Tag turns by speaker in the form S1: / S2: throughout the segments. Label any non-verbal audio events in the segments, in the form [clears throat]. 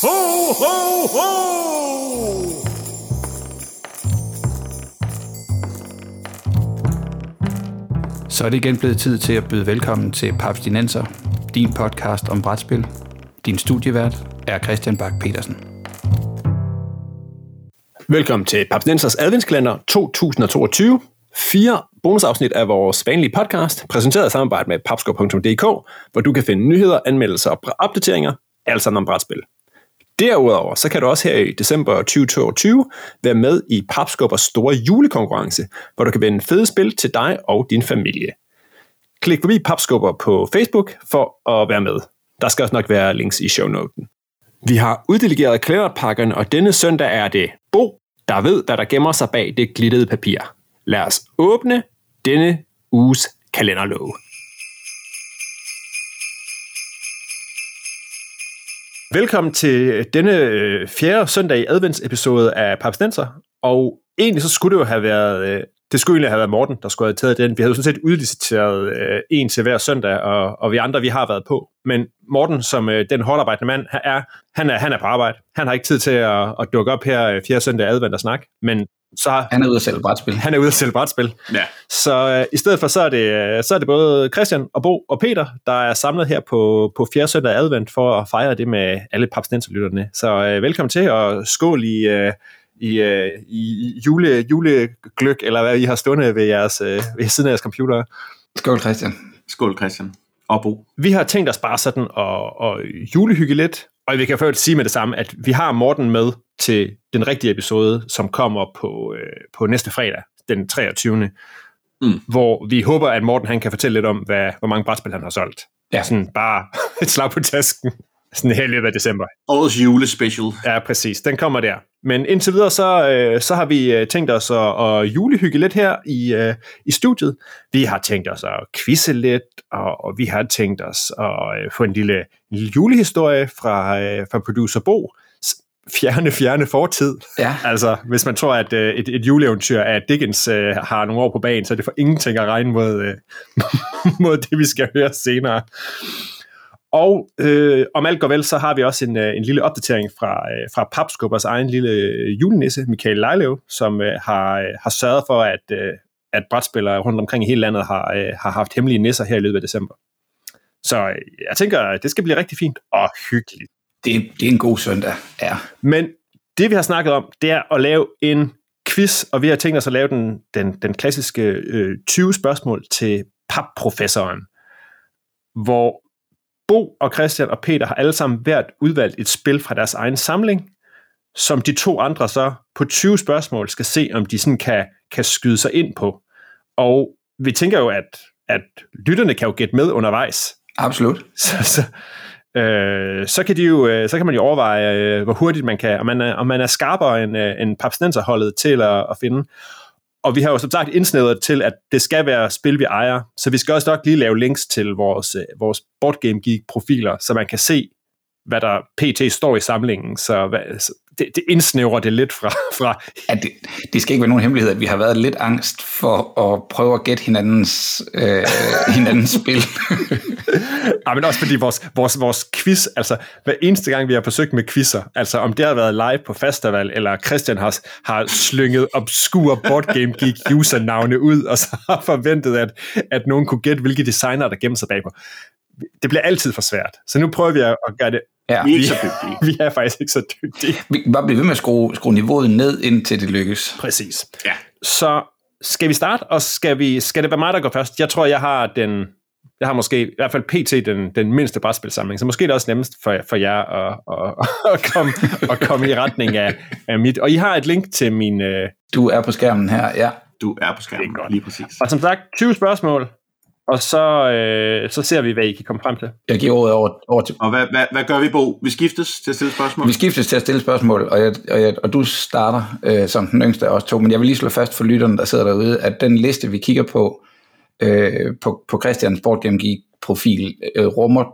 S1: Ho, ho, ho!
S2: Så er det igen blevet tid til at byde velkommen til Paps Dinenser, din podcast om brætspil. Din studievært er Christian Bak petersen
S3: Velkommen til Papsnensers adventskalender 2022. Fire bonusafsnit af vores vanlige podcast, præsenteret i samarbejde med papsko.dk, hvor du kan finde nyheder, anmeldelser og opdateringer, alt sammen om brætspil. Derudover så kan du også her i december 2022 være med i Papskubbers store julekonkurrence, hvor du kan vinde fede spil til dig og din familie. Klik forbi Papskubber på Facebook for at være med. Der skal også nok være links i shownoten. Vi har uddelegeret klæderpakkerne, og denne søndag er det Bo, der ved, hvad der gemmer sig bag det glittede papir. Lad os åbne denne uges kalenderlåge. Velkommen til denne øh, fjerde søndag i adventsepisode af Papstenser. Og egentlig så skulle det jo have været, øh, det skulle egentlig have været Morten, der skulle have taget den. Vi havde jo sådan set udliciteret øh, en til hver søndag, og, og vi andre, vi har været på. Men Morten, som øh, den hårdarbejdende mand han er, han er, han er på arbejde. Han har ikke tid til at, at dukke op her øh, fjerde søndag i advent og snakke. Men så har,
S2: Han er ude at sælge brætspil.
S3: han er ude at sælge brætspil.
S1: Ja.
S3: Så øh, i stedet for, så er, det, øh, så er det både Christian og Bo og Peter, der er samlet her på, på 4. søndag i advent for at fejre det med alle papstenserlytterne. Så øh, velkommen til, og skål i, øh, i, øh, i jule, julegløk, eller hvad I har stående ved, jeres, øh, ved siden af jeres computer.
S2: Skål, Christian.
S1: Skål, Christian. Og Bo.
S3: Vi har tænkt os bare sådan at, at julehygge lidt, og vi kan først sige med det samme, at vi har Morten med til den rigtige episode, som kommer på, øh, på næste fredag, den 23.
S1: Mm.
S3: Hvor vi håber, at Morten han kan fortælle lidt om, hvad, hvor mange brætspil han har solgt.
S2: Ja.
S3: Sådan bare [laughs] et slag på tasken. Sådan her i løbet af december.
S1: Årets julespecial.
S3: Ja, præcis. Den kommer der. Men indtil videre, så, øh, så har vi øh, tænkt os at, at julehygge lidt her i, øh, i studiet. Vi har tænkt os at quizze lidt, og, og vi har tænkt os at øh, få en lille, en lille julehistorie fra, øh, fra producer Bo. S- Fjerne, fjerne fortid.
S2: Ja,
S3: Altså, hvis man tror, at øh, et, et juleeventyr af Dickens øh, har nogle år på bagen, så er det for ingenting at regne mod, øh, [laughs] mod det, vi skal høre senere. Og øh, om alt går vel, så har vi også en, øh, en lille opdatering fra, øh, fra Papskubbers egen lille øh, julenisse, Michael Lejlev, som øh, har, øh, har sørget for, at, øh, at brætspillere rundt omkring i hele landet har, øh, har haft hemmelige nisser her i løbet af december. Så øh, jeg tænker, at det skal blive rigtig fint og hyggeligt.
S2: det, det er en god søndag. Ja.
S3: Men det, vi har snakket om, det er at lave en quiz, og vi har tænkt os at lave den, den, den klassiske øh, 20 spørgsmål til papprofessoren, hvor Bo og Christian og Peter har alle sammen hvert udvalgt et spil fra deres egen samling, som de to andre så på 20 spørgsmål skal se, om de sådan kan, kan skyde sig ind på. Og vi tænker jo, at, at lytterne kan jo gætte med undervejs,
S2: Absolut.
S3: [laughs] så, så, øh, så kan de jo, øh, så kan man jo overveje, øh, hvor hurtigt man kan, om man er, om man er skarpere end, øh, end papsnenserholdet til at, at finde. Og vi har jo som sagt indsnævret til, at det skal være spil, vi ejer, så vi skal også nok lige lave links til vores, øh, vores Board Game Geek profiler, så man kan se, hvad der pt. står i samlingen, så, hvad, så det, det indsnævrer det lidt fra, [laughs] fra
S2: At det, det skal ikke være nogen hemmelighed, at vi har været lidt angst for at prøve at gætte hinandens, øh, [laughs] hinandens [laughs] spil.
S3: Ja, men også fordi vores, vores, vores quiz, altså hver eneste gang, vi har forsøgt med quizzer, altså om det har været live på festival, eller Christian har, har slynget obskure Board Game Geek usernavne ud, og så har forventet, at, at nogen kunne gætte, hvilke designer, der gemmer sig bagpå. Det bliver altid for svært. Så nu prøver vi at at gøre det.
S2: Ja.
S1: Vi er ikke så dygtige.
S3: Vi er faktisk ikke så dygtige.
S2: Vi kan bare blive ved med at skrue, skrue niveauet ned, indtil det lykkes.
S3: Præcis.
S1: Ja.
S3: Så skal vi starte, og skal, vi, skal det være mig, der går først? Jeg tror, jeg har den... Jeg har måske, i hvert fald PT, den, den mindste brætspilsamling, så måske er det også nemmest for, for jer at, at, [laughs] at, komme, at komme i retning af, af mit. Og I har et link til min... Øh,
S2: Du er på skærmen her, ja.
S1: Du er på skærmen.
S3: Det er godt.
S1: Lige præcis.
S3: og som sagt, 20 spørgsmål, og så, øh, så ser vi, hvad I kan komme frem til.
S2: Jeg giver ordet over, over til
S1: Og hvad, hvad, hvad gør vi, Bo? Vi skiftes til at stille spørgsmål.
S2: Vi skiftes til at stille spørgsmål, og, jeg, og, jeg, og du starter øh, som den yngste af os to, men jeg vil lige slå fast for lytterne, der sidder derude, at den liste, vi kigger på øh, på, på Christians Sport Game Geek profil, øh, rummer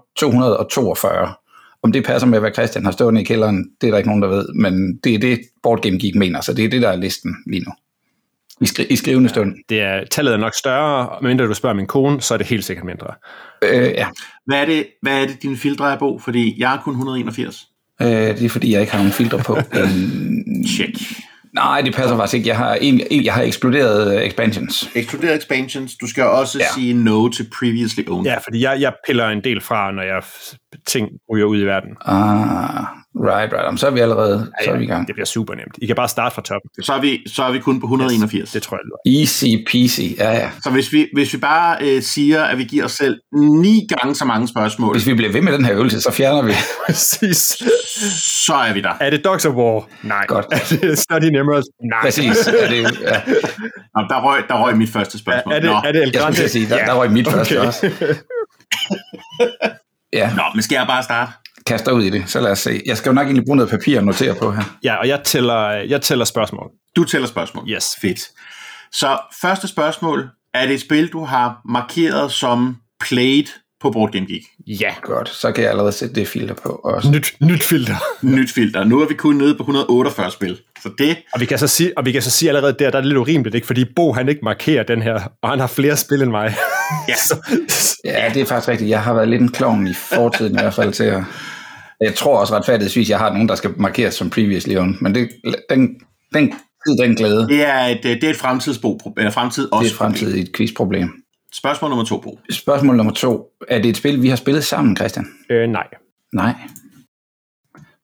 S2: 242. Om det passer med, hvad Christian har stående i kælderen, det er der ikke nogen, der ved, men det er det, Board Game Geek mener, så det er det, der er listen lige nu. I, skri- i skrivende stund.
S3: Det er, tallet er nok større, og mindre du spørger min kone, så er det helt sikkert mindre.
S2: Øh, ja.
S1: Hvad er det, hvad er det dine filtre er, Bo? Fordi jeg er kun 181.
S2: Øh, det er fordi, jeg ikke har nogen filtre på. øhm,
S1: Check.
S2: nej, det passer faktisk ikke. Jeg har, egentlig, jeg har eksploderet øh, expansions.
S1: Exploderet expansions. Du skal også
S2: Ja.
S1: ja. sige no til previously owned.
S3: Ja, fordi jeg, jeg piller en del fra, når jeg f- ting ryger ud i verden.
S2: Ah, right, right. Jamen, så er vi allerede så er vi i gang.
S3: Det bliver super nemt. I kan bare starte fra toppen.
S1: Så, er vi, så er vi kun på 181.
S3: Det tror jeg lyder.
S2: Easy peasy. Ja, ja.
S1: Så hvis vi, hvis vi bare øh, siger, at vi giver os selv ni gange så mange spørgsmål,
S2: Hvis vi bliver ved med den her øvelse, så fjerner vi.
S3: Præcis.
S1: så er vi der.
S3: Er det Dogs of War? Nej.
S2: Godt.
S3: Er det Study in Emeralds? Nej.
S2: Præcis. Er det, ja.
S1: Nå, der, røg, der røg mit første spørgsmål.
S3: Er det,
S1: Nå.
S3: er det
S2: Jeg
S3: El
S2: skulle
S3: Grande?
S2: til at sige, der,
S3: Ja.
S2: der røg mit første
S3: Okay.
S2: også. Ja,
S1: Nå, men skal jeg bare starte?
S2: kaster ud i det, så lad os se. Jeg skal jo nok egentlig bruge noget papir og notere på her.
S3: Ja, og jeg tæller, jeg tæller spørgsmål.
S1: Du tæller spørgsmål.
S3: Yes.
S1: Fedt. Så første spørgsmål. Er det et spil, du har markeret som played på Board Game Geek?
S3: Ja.
S2: Godt, så kan jeg allerede sætte det filter på også.
S3: Nyt, nyt filter.
S1: Nyt filter. Nu er vi kun nede på 148 spil. Så det,
S3: Og vi kan så sige, og vi kan så sige allerede der, der er det lidt urimeligt, ikke? fordi Bo han ikke markerer den her, og han har flere spil end mig.
S1: Ja.
S3: [laughs] Så-
S2: Ja, det er faktisk rigtigt. Jeg har været lidt en klovn i fortiden i hvert fald til at... Jeg tror også retfærdigvis, jeg har nogen, der skal markeres som previously owned, men det, den, den, tid, den glæde, det
S1: det er et, øh, det er et fremtidsbo, eller fremtid
S2: er
S1: også.
S2: et fremtidigt quizproblem.
S1: Spørgsmål nummer to, Bo.
S2: Spørgsmål nummer to. Er det et spil, vi har spillet sammen, Christian?
S3: øh, nej.
S2: Nej.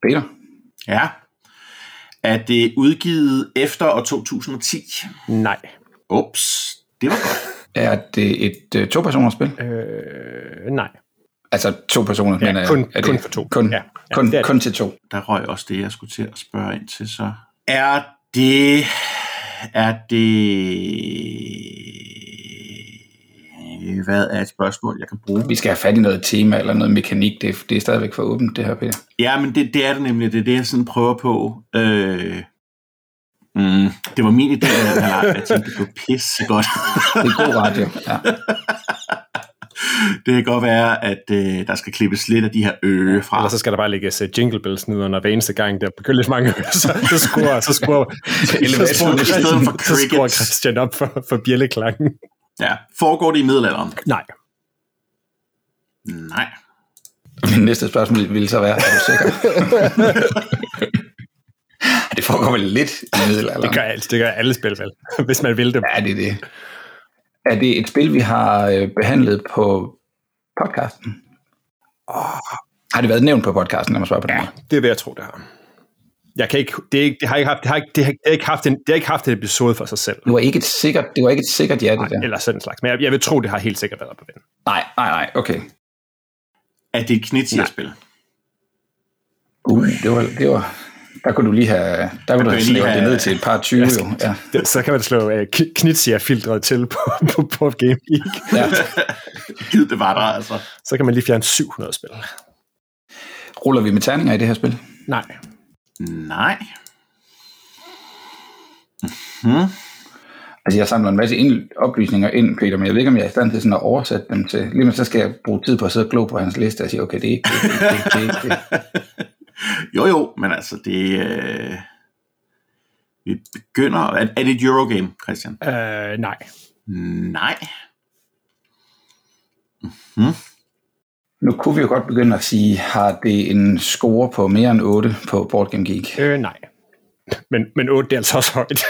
S2: Peter?
S1: Ja. Er det udgivet efter år 2010?
S3: Nej.
S1: Ups, det var godt.
S2: Er det et øh, to-personers spil?
S3: Øh, nej.
S2: Altså to personer,
S3: Ja,
S2: men er-
S3: kun-
S2: er det,
S3: kun for to.
S2: Kun,
S3: Ja,
S2: ja.
S3: ja,
S2: kun,
S3: det er
S2: ja,
S3: det.
S2: kun til to.
S1: Der røg også det, jeg skulle til at spørge ind til, så. Er det... Er det... Hvad er et spørgsmål, jeg kan bruge?
S2: Vi skal have fat i noget tema eller noget mekanik. Det, er- det er stadigvæk for åbent, det her, Peter.
S1: Ja, men det, det er det nemlig. Det er det, jeg sådan prøver på. Øh... Mm, det var min idé, at jeg havde lagt. Jeg tænkte, det blev pisse godt.
S2: Det er god radio. Ja.
S1: Det kan godt være, at øh, der skal klippes lidt af de her øge
S2: Ah.
S1: fra.
S3: Ellers så skal der bare lægges uh, jingle bells ned under hver eneste gang, der begynder lidt mange [laughs] så, så skruer, så skruer, så,
S2: Elevator
S3: skruer
S2: i
S1: stedet
S3: Christian,
S1: for
S3: så skruer
S1: crickets.
S3: Christian op for, for bjælleklangen.
S1: Ja. Foregår det i middelalderen?
S3: Nej.
S1: Nej.
S2: Min næste spørgsmål ville så være, er du
S3: [laughs]
S2: sikker? [laughs] det foregår vel lidt i
S3: Det
S2: middelalderen.
S3: gør, alt, det gør alle spil, vel? [laughs] Hvis man vil det.
S2: Ja, det er det. Er det et spil, vi har øh, behandlet på podcasten? Oh. Har det været nævnt på podcasten, lad mig svare på det. Ja.
S3: Det vil jeg tro, det har. Jeg kan ikke, det, er ikke, det har ikke haft, det har ikke, det har ikke haft en, det har ikke haft en episode for sig selv.
S2: Det var ikke et sikkert, det var ikke et sikkert ja, det der.
S3: Eller sådan en slags. Men jeg, jeg vil tro, det har helt sikkert været på den.
S2: Nej, nej, nej, okay.
S1: Er det et knitsierspil?
S2: Uh, det var, det var, der kunne du lige have, der kunne du
S1: kunne
S2: have
S1: jeg lige
S2: slævet det
S1: have-
S2: ned til et par 20 jo. Ja.
S3: Det, så kan man slå uh, Knitsia-filtret til på, [laughs] på, på Game Geek.
S2: ja.
S1: Gid det var der, altså.
S3: Så kan man lige fjerne 700 spil.
S2: Ruller vi med terninger i det her spil?
S3: Nej.
S1: Nej.
S2: Altså, jeg samler en masse ind, oplysninger ind, Peter, men jeg ved ikke, om jeg er i stand til sådan at oversætte dem til. Lige med, så skal jeg bruge tid på at sidde og glo på hans liste og sige, okay, det er ikke det, det, er ikke det, det, er ikke det.
S1: Jo, jo, men altså, det... Øh... Vi begynder... Er, er det et Eurogame, Christian?
S3: Øh, nej.
S1: Nej.
S2: Nu kunne vi jo godt begynde at sige, har det en score på mere end 8 på Board Game Geek?
S3: Øh, nej. Men, men 8, det er altså også højt.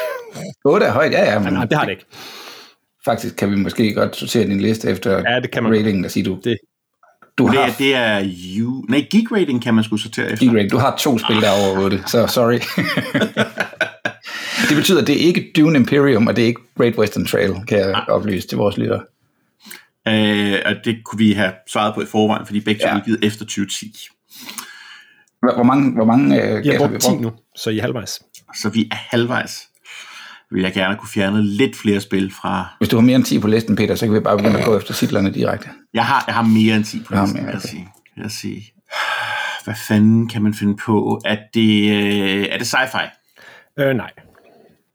S2: 8 er højt, ja, ja, men
S3: nej, det har det ikke.
S2: faktisk kan vi måske godt sortere din liste efter
S3: Ja, det kan man.
S2: ratingen og sige, du,
S3: Det-
S2: du
S1: Det
S2: har
S1: er, det er you... Nej, Geek Rating kan man skulle sortere efter.
S2: Degrade, du har to spil, der er over 8, så
S3: [laughs]
S2: sorry. det betyder, at det er ikke Dune Imperium, og det er ikke Great Western Trail, kan jeg oplyse til vores lyttere.
S1: Øh, og det kunne vi have svaret på i forvejen, fordi begge to
S2: Ja.
S1: er udgivet efter 2010.
S2: Hvor hvor mange, hvor mange øh,
S3: Jeg
S2: gæt
S3: har brugt 10 nu, så I er halvvejs.
S1: Så vi er halvvejs. Vil jeg gerne kunne fjerne lidt flere spil fra...
S2: Hvis du har mere end 10 på listen, Peter, så kan vi bare begynde at gå efter titlerne direkte.
S1: Jeg har, jeg har mere end 10 på
S2: har
S1: listen, vil
S2: mere,
S1: jeg
S2: okay.
S1: sige. Vil jeg sige. Hvad fanden kan man finde på? Er det, øh, er det sci-fi?
S3: Øh, nej.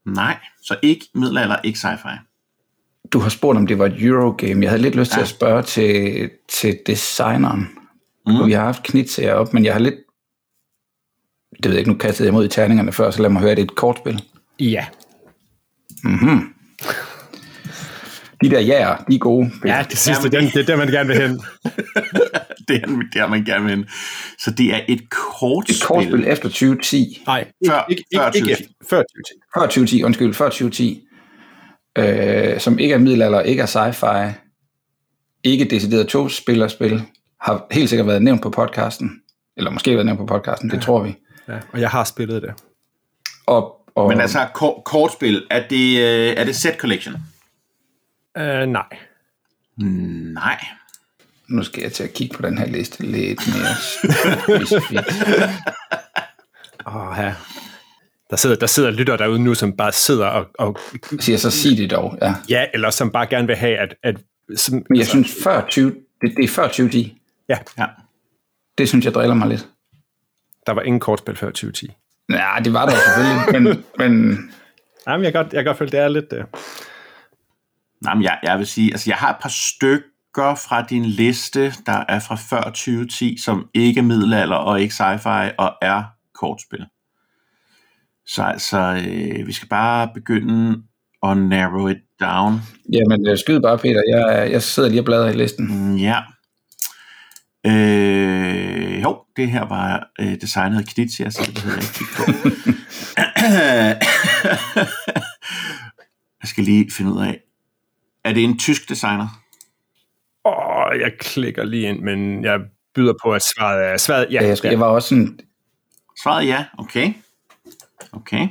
S1: Nej, så ikke middelalder, ikke sci-fi.
S2: Du har spurgt, om det var et Eurogame. Jeg havde lidt lyst til at spørge til, til designeren. Mm. Vi har haft knitsager op, men jeg har lidt... Det ved jeg ikke, nu kastede jeg mod i terningerne før, så lad mig høre, at det er et kortspil.
S3: Ja.
S2: De der jæger, de er gode. Peter.
S3: Ja, det sidste, den, det er der, man gerne vil hen.
S1: [laughs] det er der, man gerne vil hen. Så det er et kortspil.
S2: Et kortspil efter 2010.
S3: Nej, ikke,
S1: Før-
S3: ikke,
S1: før
S3: ikke, ikke
S1: 2010.
S3: efter- før 2010.
S2: Før 2010, undskyld, før 2010. Øh, som ikke er middelalder, ikke er sci-fi, ikke decideret to-spillerspil, har helt sikkert været nævnt på podcasten. Eller måske været nævnt på podcasten, det tror vi.
S3: Ja, og jeg har spillet det.
S2: Og, og,
S1: Men altså, kor- kortspil, er det, øh, er det set collection?
S3: Uh, nej.
S1: Nej.
S2: nu skal jeg til at kigge på den her liste lidt mere specifikt.
S3: Åh, ja. Der sidder, der sidder lytter derude nu, som bare sidder og, og
S2: Siger så sig det dog, ja.
S3: ja, eller som bare gerne vil have, at, at som,
S2: Men jeg synes, før 20, det, det er før 2010.
S3: ja,
S1: Ja.
S2: Det synes jeg driller mig lidt.
S3: der var ingen kortspil før 2010.
S2: Nej, det var der jo selvfølgelig, men, men
S3: Nej, men jeg kan godt, jeg kan godt føle, det er lidt... Uh...
S1: Nej, men jeg, jeg vil sige, altså jeg har et par stykker fra din liste, der er fra før 2010, som ikke er middelalder og ikke sci-fi og er kortspil. Så altså, øh, vi skal bare begynde at narrow it down.
S2: jamen, øh, skyd bare, Peter. Jeg, jeg sidder lige og bladrer i listen.
S1: Mm, Ja. Øh, jo, det her var øh, designet af Knizia, så det havde jeg ikke kigget på. [coughs] jeg skal lige finde ud af, er det en tysk designer?
S3: Åh, jeg klikker lige ind, men jeg byder på, at svaret er... Svaret, ja,
S2: Ja, jeg, jeg var også sådan,
S1: Svaret er ja, okay. Okay,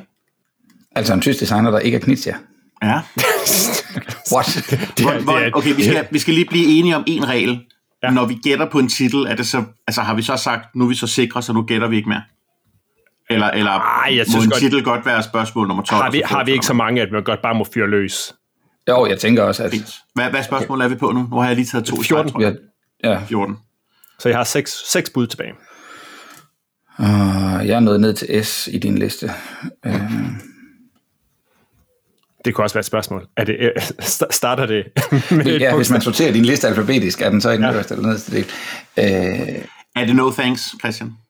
S2: altså en tysk designer, der ikke er Knizia.
S1: ja.
S2: What?
S3: [laughs]
S1: Hvor, hvor, okay, vi skal, vi skal lige blive enige om en regel.
S3: Ja.
S1: Ja. Når vi gætter på en titel, er det så, altså, har vi så sagt, nu er vi så sikre, så nu gætter vi ikke mere? Eller, eller
S3: Ej, jeg
S1: må
S3: synes
S1: en
S3: godt-
S1: titel godt være spørgsmål nummer 12?
S3: Har vi,
S1: og
S3: har vi ikke så mange, at man godt bare må fyre løs?
S2: Jo, jeg tænker også, at...
S1: Fint. Hvad, hvad spørgsmål er vi på nu? Nu har jeg lige taget to. i træk,
S3: 14.
S1: tror
S2: Ja,
S1: jeg.
S2: ja.
S1: 14.
S3: Så jeg har seks, seks bud tilbage.
S2: Uh, jeg er nået ned til S i din liste. Uh,
S3: Det kunne også være et spørgsmål. Er det, [laughs] øh, sta- starter det med et
S2: ja, hvis
S3: bogstav?
S2: man sorterer din liste alfabetisk, er den så i den øverste eller nederste del. Uh,
S1: Er det no thanks, Christian?
S3: [laughs]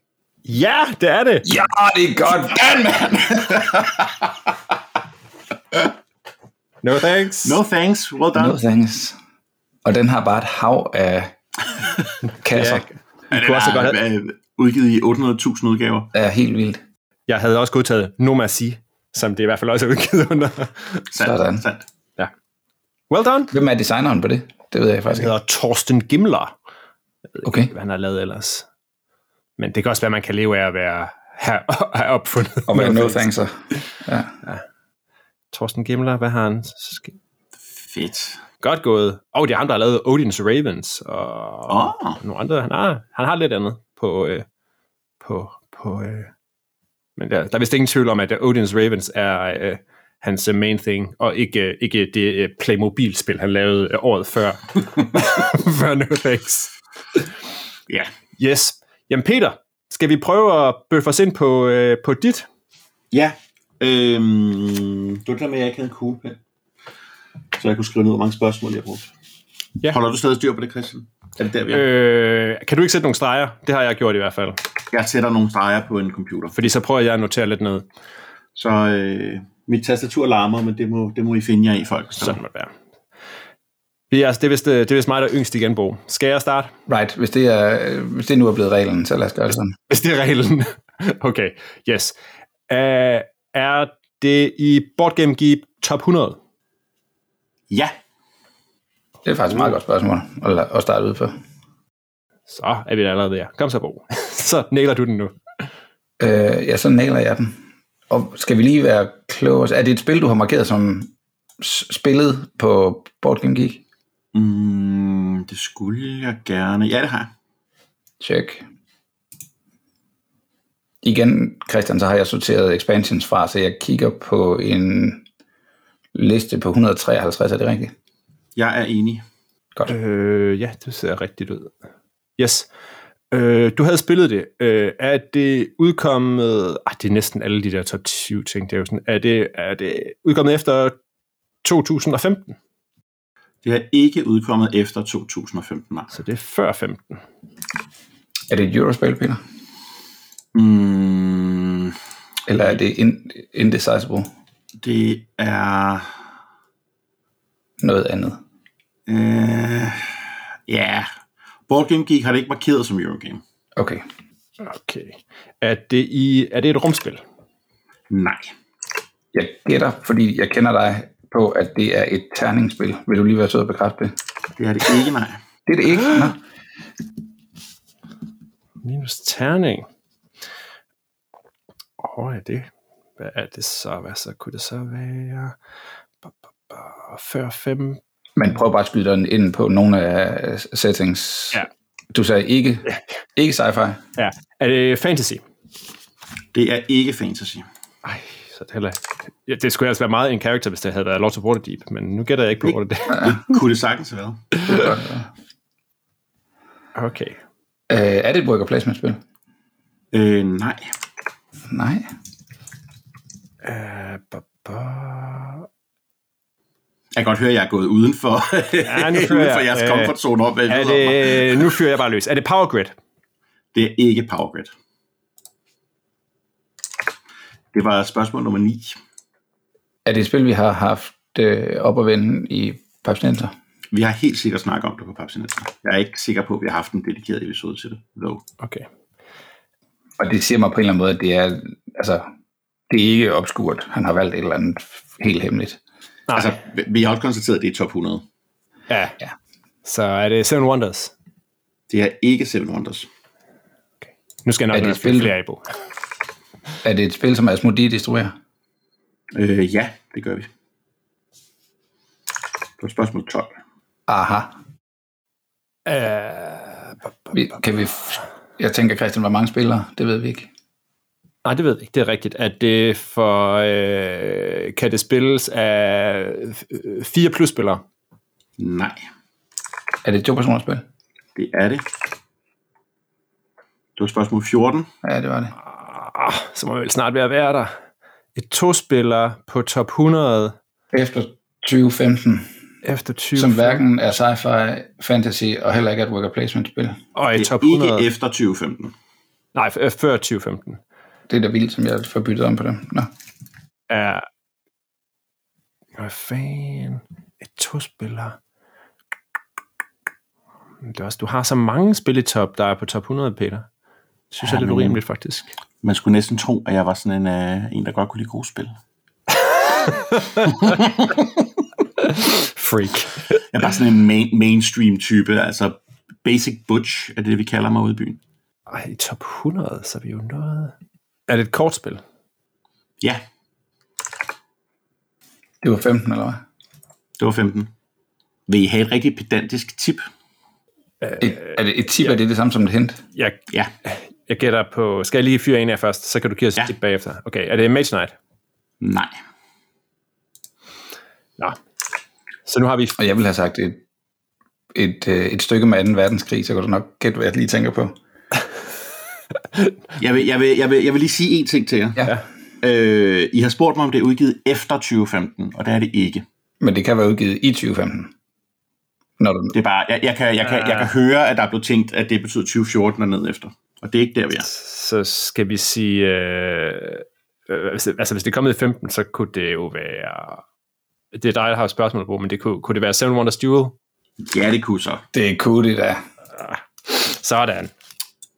S3: Ja, det er det.
S2: ja, det er godt.
S1: Dan, man!
S3: No thanks.
S1: No thanks, well done.
S2: No thanks. Og den har bare et hav [laughs] af kasser.
S3: Ja. I kunne også
S1: er,
S3: godt have,
S1: er, udgivet i 800.000 udgaver.
S2: Det er helt vildt.
S3: jeg havde også godtaget No Merci, som det i hvert fald også er udgivet [laughs] under.
S1: Sandt,
S2: Sådan.
S1: sandt.
S3: Ja. Well done.
S2: Hvem er designeren på det? Det ved jeg faktisk
S3: Det
S2: ikke.
S3: hedder Torsten Gimler,
S2: Okay.
S3: hvad han har lavet ellers. Men det kan også være, man kan leve af at være her, have [laughs] opfundet.
S2: Og hvad er no thanks? så? Ja.
S3: Torsten Gimler, hvad har han? Sk-
S1: Fedt.
S3: Godt gået. Og det er ham, der har lavet Odin's Ravens, og
S1: Åh, oh,
S3: nogle andre. Han har, han har lidt andet på... Øh, på, på øh. Men der, der er vist ingen tvivl om, at Odin's Ravens er øh, hans øh, main thing, og ikke, øh, ikke det øh, Playmobil-spil, han lavede øh, året før. før No Thanks.
S1: ja.
S3: Yes. Jamen Peter, skal vi prøve at bøffe os ind på, øh, på dit?
S1: Ja. Øhm, det var det der med, at jeg ikke havde en kuglepen. Så jeg kunne skrive ned, hvor mange spørgsmål jeg brugte.
S3: Ja.
S1: Ja. Holder du stadig styr på det, Christian? Er det der, vi er? Øh.
S3: Øh, kan du ikke sætte nogle streger? Det har jeg gjort i hvert fald.
S1: Jeg sætter nogle streger på en computer.
S3: Fordi så prøver jeg at notere lidt ned.
S1: Så øh, mit tastatur larmer, men det må, det må I finde jer i, folk. Så.
S3: Sådan må det være. Det er, altså, det, er vist, øh, det er vist mig, der er yngst i genbrug. Skal jeg starte?
S2: Right, hvis det, er, hvis det nu er blevet reglen, så lad os gøre det sådan.
S3: [laughs] Hvis det er reglen. Okay, yes. Uh, er det i Board Game Geek top 100?
S1: Ja.
S2: Det er faktisk et meget godt spørgsmål at, la- at starte ud på.
S3: Så er vi da allerede der. Kom så, Bo. [laughs] så næler du den nu.
S2: Øh, ja, så nailer jeg den. Og skal vi lige være kloge? Er det et spil, du har markeret som s- spillet på Board Game Geek?
S1: Mm, det skulle jeg gerne. Ja, det har jeg.
S2: Check. Igen, Christian, så har jeg sorteret expansions fra, så jeg kigger på en liste på 153, er det rigtigt?
S1: Jeg er enig.
S3: Øh, ja, det ser rigtigt ud. Yes. Øh, du havde spillet det. Øh, er det udkommet... Ah, det er næsten alle de der top 20 ting. Det er, jo sådan, er, det, er det udkommet efter 2015?
S1: Det er ikke udkommet efter 2015. nej.
S3: Så det er før 15.
S2: Er det et Eurospil, Peter?
S1: Mm,
S2: Eller er det in- indecisible?
S1: det er...
S2: Noget andet.
S1: Øh, ja. Board Game Geek har det ikke markeret som Eurogame.
S2: Okay.
S3: Okay. Er det, i, er det et rumspil?
S1: Nej.
S2: Jeg gætter, fordi jeg kender dig på, at det er et terningsspil. Vil du lige være sød og bekræfte det?
S1: Det er det ikke, nej.
S2: Det er det ikke. Nå.
S3: Minus terning. Åh, oh, er det? Hvad er det så? Hvad så kunne det så være? Ba, ba, ba. Før 5.
S2: Men prøv bare at skyde dig ind på nogle af øh, settings.
S3: Ja.
S2: Du sagde ikke, ikke sci-fi.
S3: Ja. Er det fantasy?
S1: Det er ikke fantasy.
S3: Ej, så er det heller ikke. ja, Det skulle altså være meget en character, hvis det havde været Lords of Waterdeep, men nu gætter jeg ikke på, hvor det [laughs] er.
S1: Det kunne det sagtens have været.
S3: Okay.
S2: Øh, er det et worker placement-spil?
S1: Øh, nej.
S2: Nej.
S3: Uh, ba, ba.
S1: Jeg kan godt høre, at jeg er gået uden for,
S3: Ja,
S1: ja,
S3: nu
S1: nu [laughs]
S3: kører
S1: uden for
S3: jeg.
S1: jeres
S3: Øh,
S1: komfortzone op.
S3: Er
S1: Er det...
S3: det, nu fyrer jeg bare løs. Er det Power Grid?
S1: det er ikke Power Grid. Det var spørgsmål nummer 9.
S2: Er det et spil, vi har haft øh, op og vende i Papsnenser?
S1: Vi har helt sikkert snakket om det på Papsinet. Jeg er ikke sikker på, at vi har haft en dedikeret episode til det. Though.
S3: Okay.
S2: Og det siger mig på en eller anden måde, at det er, altså, det er ikke obskurt. Han har valgt et eller andet helt hemmeligt.
S3: Nej.
S1: Altså, vi- vi har også konstateret, at det er top 100.
S3: ja.
S2: Ja.
S3: Så er det Seven Wonders?
S1: Det er ikke Seven Wonders.
S3: Nu skal jeg
S2: Er
S3: nok
S2: det
S3: have
S2: et spil?
S3: flere i på.
S2: Er det et spil, som Asmodee distribuerer?
S1: Øh, ja, det gør vi. Det var spørgsmål 12.
S2: Aha.
S3: Uh, ba, ba,
S2: Vi, kan vi, jeg tænker, Christian, hvor mange spillere? Det ved vi ikke.
S3: Nej, det ved jeg ikke. Det er rigtigt. At det for, øh, kan det spilles af øh, fire plus spillere?
S1: Nej,
S2: Er det et to-personers spil?
S1: det er det. Det var spørgsmål 14.
S2: Ja, det var det.
S3: Ah, så må vi vel snart være at være der. Et to-spiller på top 100
S2: Efter 2015,
S3: efter 20,
S2: som hverken er sci-fi, fantasy og heller ikke er et worker placement-spil.
S3: og et
S1: Det
S3: top
S1: er
S3: 100.
S1: ikke efter 2015.
S3: Nej, f- øh, før 2015.
S2: Det er da vildt, som jeg får byttet om på dem. Nå.
S3: Er... Hvad fanden? Et to-spiller. Men Det er også, du har så mange spil i top, der er på top 100, Peter. Det synes ja, jeg er lidt
S1: men-
S3: urimeligt, faktisk.
S1: Man skulle næsten tro, at jeg var sådan en, øh, en der godt kunne lide gode spil.
S3: Freak.
S1: Jeg er bare sådan en main, mainstream-type, altså basic butch er det, vi kalder mig ude i byen.
S3: Ej, i top 100, så er vi jo noget... Er det et kortspil?
S1: Ja,
S2: Det var 15, eller hvad?
S1: det var 15. Vil I have et rigtig pedantisk tip?
S2: Et, er det, et tip, Øh, ja. er det det samme som et hint?
S3: Jeg,
S1: Ja,
S3: jeg gætter på... Skal jeg lige fyre en af jer først, så kan du give os ja.
S1: Ja.
S3: et tip bagefter. Okay, er det Mage Knight?
S1: nej.
S3: Nå. Så nu har vi...
S2: Og jeg vil have sagt et, et, øh, et stykke med 2. verdenskrig, så kan du nok gætte, hvad jeg lige tænker på.
S1: Jeg vil, jeg vil, jeg vil, jeg vil lige sige én ting til jer.
S2: Ja. ja.
S1: Øh, I har spurgt mig, om det er udgivet efter 2015, og det er det ikke.
S2: Men det kan være udgivet i 2015. Når du,
S1: Det er bare, jeg, jeg, kan, jeg, kan, jeg kan høre, at der er blevet tænkt, at det betyder 2014 og ned efter. Og det er ikke der, vi er.
S3: Så skal vi sige... Øh, øh, hvis det- altså, hvis det er kommet i 15, så kunne det jo være... Det er dig, der har et spørgsmål på, men det kunne, kunne det være Seven Wonders Duel? Ah,
S1: Ja, det kunne så.
S2: det kunne det da.
S3: Sådan.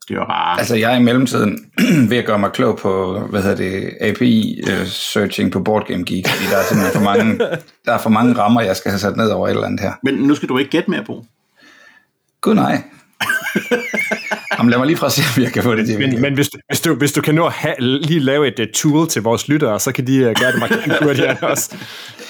S1: Det var bare...
S2: Altså, jeg er i mellemtiden [clears throat] ved at gøre mig klog på, hvad hedder det, API-searching øh, på Board Game Geek, fordi der er simpelthen for mange, der er for mange rammer, jeg skal have sat ned over et eller andet her.
S1: Men nu skal du ikke gætte mere på.
S2: Gud nej. Jamen, lad mig lige prøve at se, om jeg kan få det til. at virke.
S3: Men, men hvis, hvis, du, hvis du kan nå at ha, lige lave et uh, tool til vores lyttere, så kan de uh, gøre det markant hurtigere end os.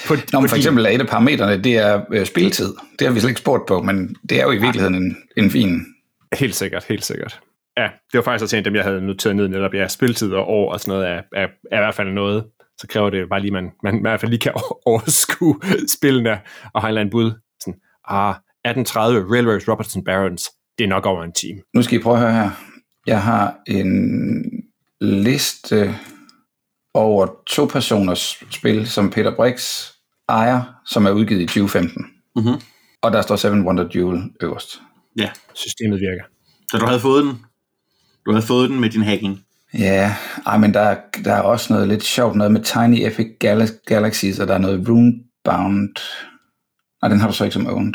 S3: På,
S2: Nå, men for eksempel er et af parametrene, det er øh, spilletid. Det har vi slet ikke spurgt på, men det er jo i virkeligheden en, en fin...
S3: Helt sikkert, helt sikkert. Ja, det var faktisk også en af dem, jeg havde noteret ned netop. Ja, spiltid og år og sådan noget er, er, er i hvert fald noget. Så kræver det jo bare lige, man, man i hvert fald lige kan [laughs] overskue spillene og har en eller anden bud. Sådan, ah, 1830 Railways Robertson Barons. Det er nok over en time.
S2: Nu skal I prøve at høre her. Jeg har en liste over to personers spil, som Peter Brix ejer, som er udgivet i 2015.
S1: Mm-hmm.
S2: Og der står Seven Wonder Duel øverst.
S1: Ja,
S3: Systemet virker.
S1: så du havde fået den. Du havde fået den med din hacking.
S2: Ja, ej, men der, er- der er også noget lidt sjovt, noget med Tiny Epic Gal- Galaxies, og der er noget Runebound. Nej, den har du så ikke som owned.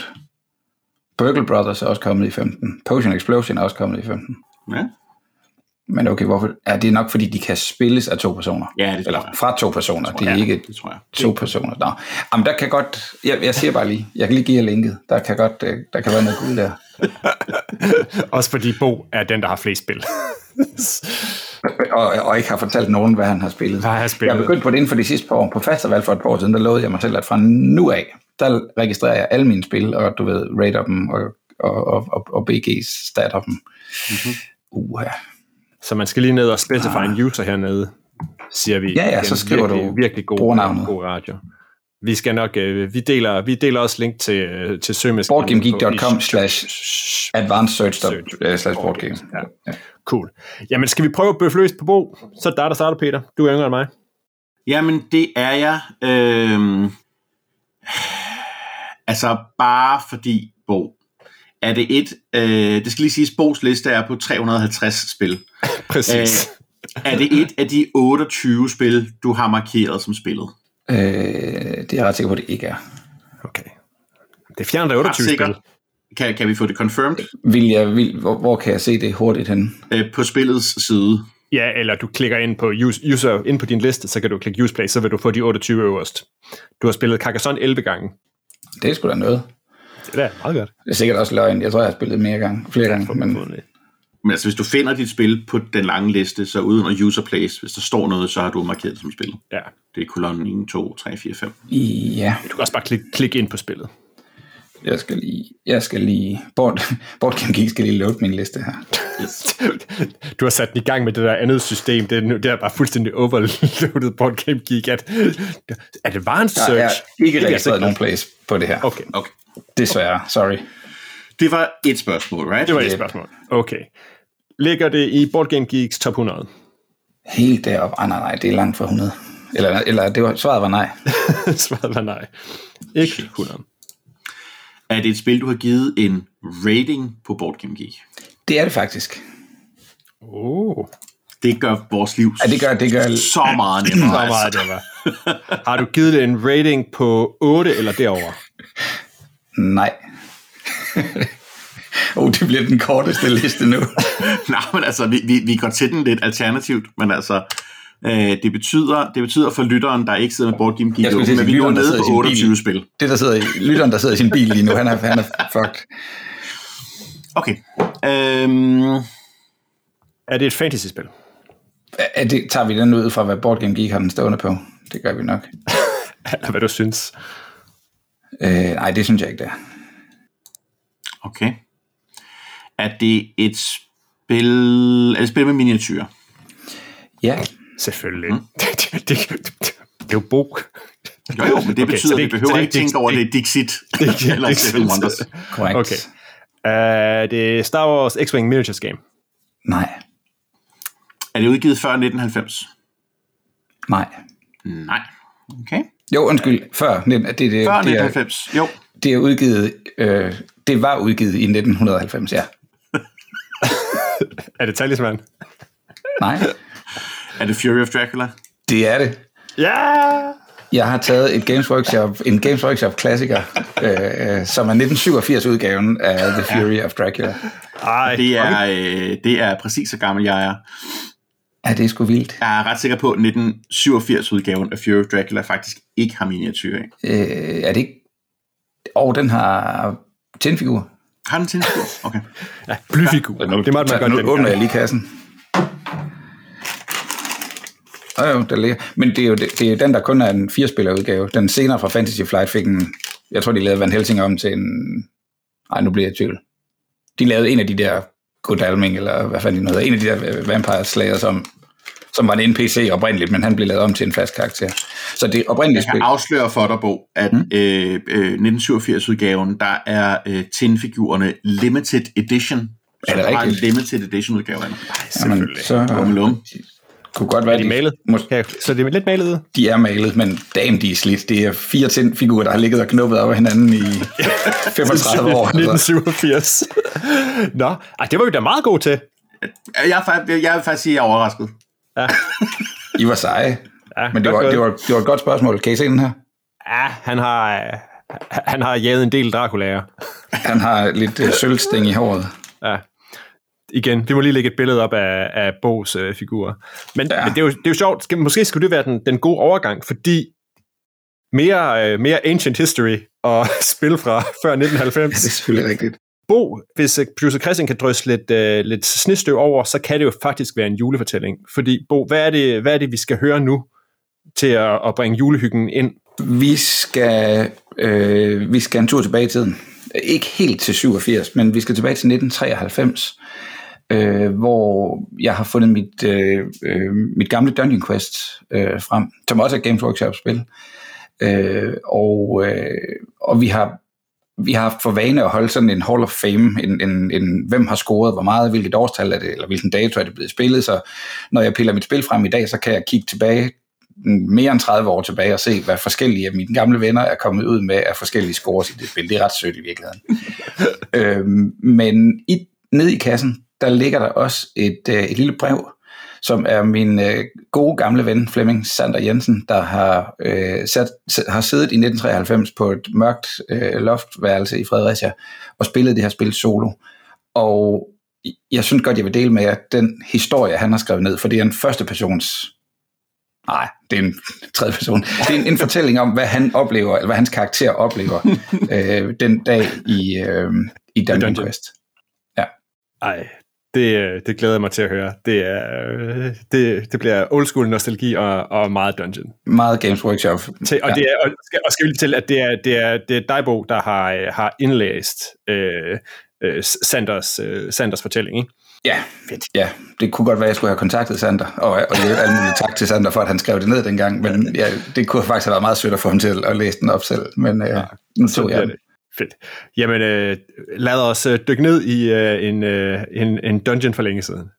S2: Burgle Brothers er også kommet i 15. Potion Explosion er også kommet i 15.
S1: Ja.
S2: Men okay, hvorfor? Ja, det er nok, fordi de kan spilles af to personer.
S1: Ja, det tror
S2: Eller
S1: jeg.
S2: fra to personer. Det er
S1: ja,
S2: ikke
S1: det tror jeg.
S2: to personer. Nå. Jamen, der kan godt... Jeg, jeg siger bare lige. Jeg kan lige give jer linket. Der kan godt... øh, Der kan være noget guld der.
S3: Også fordi Bo er den, der har flest spil.
S2: og, og ikke har fortalt nogen, hvad han har spillet.
S3: Hvad han har spillet.
S2: Jeg er begyndt på det inden for de sidste par år. På fastevalg for et par år siden, der lovede jeg mig selv, at fra nu af, der registrerer jeg alle mine spil, og du ved, rater dem, og, og, og, og, og BG's statter dem.
S3: Mhm.
S2: Mm-hmm. Uha.
S3: Så man skal lige ned og specify en user hernede, siger vi.
S2: Ah. Ja, ja,
S3: Igen,
S2: så skriver
S3: virkelig,
S2: du
S3: virkelig god,
S2: brugernavnet.
S3: god radio. Vi skal nok, øh, vi, deler, vi deler også link til, øh, til søgemaskinen.
S2: Boardgamegeek.com slash advanced search, dot- øh, slash boardgame.
S3: Ja. Cool. Jamen, skal vi prøve at bøffe løs på Bo? Så er det dig, der starter, Peter. Du er yngre end mig.
S1: Jamen, det er jeg. Øhm, altså, bare fordi Bo. Er det et... Øh, det skal lige siges, Bo's liste er på 350 spil.
S3: Præcis.
S1: Øh, er det et af de 28 spil, du har markeret som spillet?
S2: Øh, det er jeg ret sikker på, det ikke er.
S3: Okay. Det fjerner da 28 spil.
S1: sikkert. Kan, kan vi få det confirmed?
S2: Vil jeg, vil, hvor, hvor kan jeg se det hurtigt hen?
S1: Øh, på spillets side.
S3: Ja, eller du klikker ind på use, user, ind på din liste, så kan du klikke use play, så vil du få de 28 øverst. Du har spillet Carcassonne 11 gange.
S2: Det er sgu da noget.
S3: Det er da meget godt.
S2: Det er sikkert også løgn. Jeg tror, jeg har spillet mere gange, flere gange. Men,
S1: Men altså, hvis du finder dit spil på den lange liste, så uden at user place, hvis der står noget, så har du markeret det som spil.
S3: Ja.
S1: Det er kolonnen 1, 2, 3, 4, 5.
S2: ja.
S3: Du kan også bare klikke, klikke ind på spillet.
S2: Jeg skal lige, jeg skal lige, [laughs] Board, Board Game Geek skal lige lukke min liste her.
S3: [laughs] Du har sat den i gang med det der andet system. Det er, nu- det er bare fuldstændig overloadet på Game Geek. At, advanced
S2: Der er
S3: Search.
S2: ikke
S3: Det er
S2: registreret
S3: sikkert.
S2: nogen place på det her.
S3: Okay,
S1: Okay.
S2: Desværre, sorry.
S1: Det var et spørgsmål, right?
S3: det var et
S2: Yep.
S3: spørgsmål. Okay. Ligger det i Board Game Geeks top 100?
S2: Helt deroppe. Ah, nej, nej, det er langt fra 100. Eller, eller det var, svaret var nej.
S3: [laughs] Svaret var nej. Ikke 100.
S1: Er det et spil, du har givet en rating på Board Game Geek?
S2: Det er det faktisk.
S3: Oh.
S1: Det gør vores liv
S2: Ja, det gør, det gør,
S1: så meget
S2: [clears throat]
S1: nemmere. Altså,
S3: Så meget det var. Har du givet det en rating på 8 eller derover?
S2: nej. [laughs] oh, det bliver den korteste liste nu.
S1: Nej, men altså, vi, vi, vi går til den lidt alternativt, men altså, øh, det, betyder, det betyder for lytteren, der ikke sidder med Board Game Geek,
S2: Jeg skulle til at
S1: men
S2: sige,
S1: vi nu er
S2: lytteren, der
S1: nede
S2: sidder i
S1: på
S2: sin bil.
S1: 28 bil. spil.
S2: Det, der sidder i, lytteren, der sidder i sin bil lige nu, han er, han er fucked.
S1: Okay. Øhm,
S3: Er det et fantasy-spil? [laughs]
S2: Er det, tager vi den ud fra, hvad Board Game Geek har den stående på? Det gør vi nok.
S3: Eller hvad du synes?
S2: Øh, nej, det synes jeg ikke, det er.
S1: okay. Er det et spil, er det et spil med miniatyrer?
S2: Ja,
S3: Selvfølgelig. Mm. [laughs] det, det, det, det, det er jo Bo.
S1: Jo, jo, men det
S3: [laughs] Okay,
S1: okay, betyder,
S3: så det
S1: at
S3: er
S1: vi behøver ikke
S3: ikke- så det er ikke-
S1: tænke over, at det er Dixit
S3: ikke-
S1: [laughs] eller
S3: Dixit.
S1: Seven Wonders.
S2: korrekt.
S3: Okay. Uh, det er Star Wars X-Wing Miniatures Game.
S2: Nej,
S1: Er det udgivet før 1990?
S2: nej.
S1: Nej. Okay.
S2: Jo, undskyld, før. nitten- Det, det,
S1: Før
S2: det, er,
S1: 1990, jo.
S2: det er udgivet, øh, det var udgivet i 1990, ja.
S3: Er det Talisman?
S2: Nej,
S1: Er det Fury of Dracula?
S2: det er det.
S3: Ja!
S2: Jeg har taget et Games Workshop, en Games Workshop-klassiker, øh, øh, som er 1987-udgaven af The Fury of Dracula.
S3: Ej,
S1: Det er, øh, det er præcis så gammel jeg er.
S2: Ja, det er sgu vildt.
S1: Jeg er ret sikker på, at 1987-udgaven af Fury of Dracula faktisk ikke har miniatyrer af.
S2: Øh, er det ikke... Og den har tændfigur.
S1: Har den tilskud? Okay.
S3: ja, blyfigur. det måtte man
S2: Så
S3: godt
S2: nu åbner jeg
S3: dengang.
S2: lige kassen. Oh, jo, der ligger. Men det er jo, det, det er jo den, der kun er en firespillerudgave. Den senere fra Fantasy Flight fik en... Jeg tror, de lavede Van Helsing om til en... Nej, nu bliver jeg i tvivl. De lavede en af de der Godalming, eller hvad fanden de hedder. En af de der øh, vampire slayer, som, som var en NPC oprindeligt, men han blev lavet om til en fast karakter. Så det oprindelige
S1: Jeg
S2: spil...
S1: kan afsløre for dig, Bo, at mm. øh, øh, 1987-udgaven, der er øh, tinfigurerne limited edition. Så
S2: Er det
S1: der en
S2: rigtigt?
S1: limited edition udgave af den.
S2: Jamen,
S3: Selvfølgelig.
S2: så øh,
S1: Bummelum.
S2: kunne godt være,
S3: Er de malet?
S2: mås-
S3: Ja, så det er lidt malet.
S2: de er malet, men damn, de er slidt. Det er fire tændfigurer, der har ligget og knuppet op af hinanden i 35 år. Altså.
S3: 1987. Nå, ej, det var vi da meget gode til.
S1: Jeg, er fa- jeg vil faktisk sige, at jeg er overrasket.
S2: I var seje.
S3: Ja,
S2: Men det
S3: godt
S2: var,
S3: gået.
S2: det, var, det var et godt spørgsmål. Kan I se den her?
S3: Ja, han har, øh, Han har jaget en del Dracula'er.
S2: Han har lidt øh, sølvsting i håret.
S3: Ja. Igen, vi må lige lægge et billede op af, af Bo's øh, figur. Men, ja. men det, er jo, det er jo sjovt. Skal, måske skulle det være den, den gode overgang, fordi mere, øh, mere ancient history og [laughs] spil fra før
S2: Ja, det er
S3: 1990.
S2: selvfølgelig rigtigt.
S3: Bo, hvis øh, producer Christian kan drysse lidt, øh, lidt snestøv over, så kan det jo faktisk være en julefortælling. Fordi Bo, hvad er det, hvad er det vi skal høre nu til at, at bringe julehyggen ind?
S2: Vi skal, øh, vi skal en tur tilbage i tiden. Ikke helt til 87, men vi skal tilbage til 1993, øh, hvor jeg har fundet mit, øh, øh, mit gamle Dungeon Quest øh, frem, som også er Games Workshop-spil. Øh, og, øh, og vi har vi har haft for vane at holde sådan en Hall of Fame, en, en, en hvem har scoret, hvor meget, hvilket årstal er det, eller hvilken dato er det blevet spillet, så når jeg piller mit spil frem i dag, så kan jeg kigge tilbage mm, mere end 30 år tilbage og se, hvad forskellige af mine gamle venner er kommet ud med af forskellige scores i det spil. Det er ret sødt i virkeligheden. øhm, men i, nede i kassen, der ligger der også et, øh, et lille brev, som er min øh, gode gamle ven Flemming Sander Jensen, der har, øh, sat, s- har siddet i 1993 på et mørkt øh, loftværelse i Fredericia og spillet det her spil solo. Og jeg synes godt, jeg vil dele med jer den historie, han har skrevet ned, for det er en førstepersons Nej, det er en tredje person. Det er en, en fortælling om, hvad han oplever, eller hvad hans karakter oplever øh, den dag i, øh, i Dungeon,
S3: Dungeon.
S2: Quest.
S3: Ej, det, øh, det glæder jeg mig til at høre. Det, er, øh, det, det bliver old school nostalgi og, og meget dungeon.
S2: Meget Games Workshop.
S3: Til, og,
S2: Ja.
S3: ja. det er, og, skal, og skal vi lige fortælle, at det er, det er, det er dig, Bo, der har, øh, har indlæst øh, øh, Sanders, øh, Sanders fortælling. Ikke?
S2: Ja, fedt. ja, det kunne godt være, at jeg skulle have kontaktet Sander, og, og i øvrigt alt muligt tak til Sander for, at han skrev det ned dengang, men ja, det kunne faktisk have været meget sødt at få ham til at læse den op selv, men øh, nu tog jeg
S3: bliver
S2: den.
S3: det. Fedt. Jamen, øh, lad os øh, dykke ned i øh, en, øh, en, en dungeon for længe siden.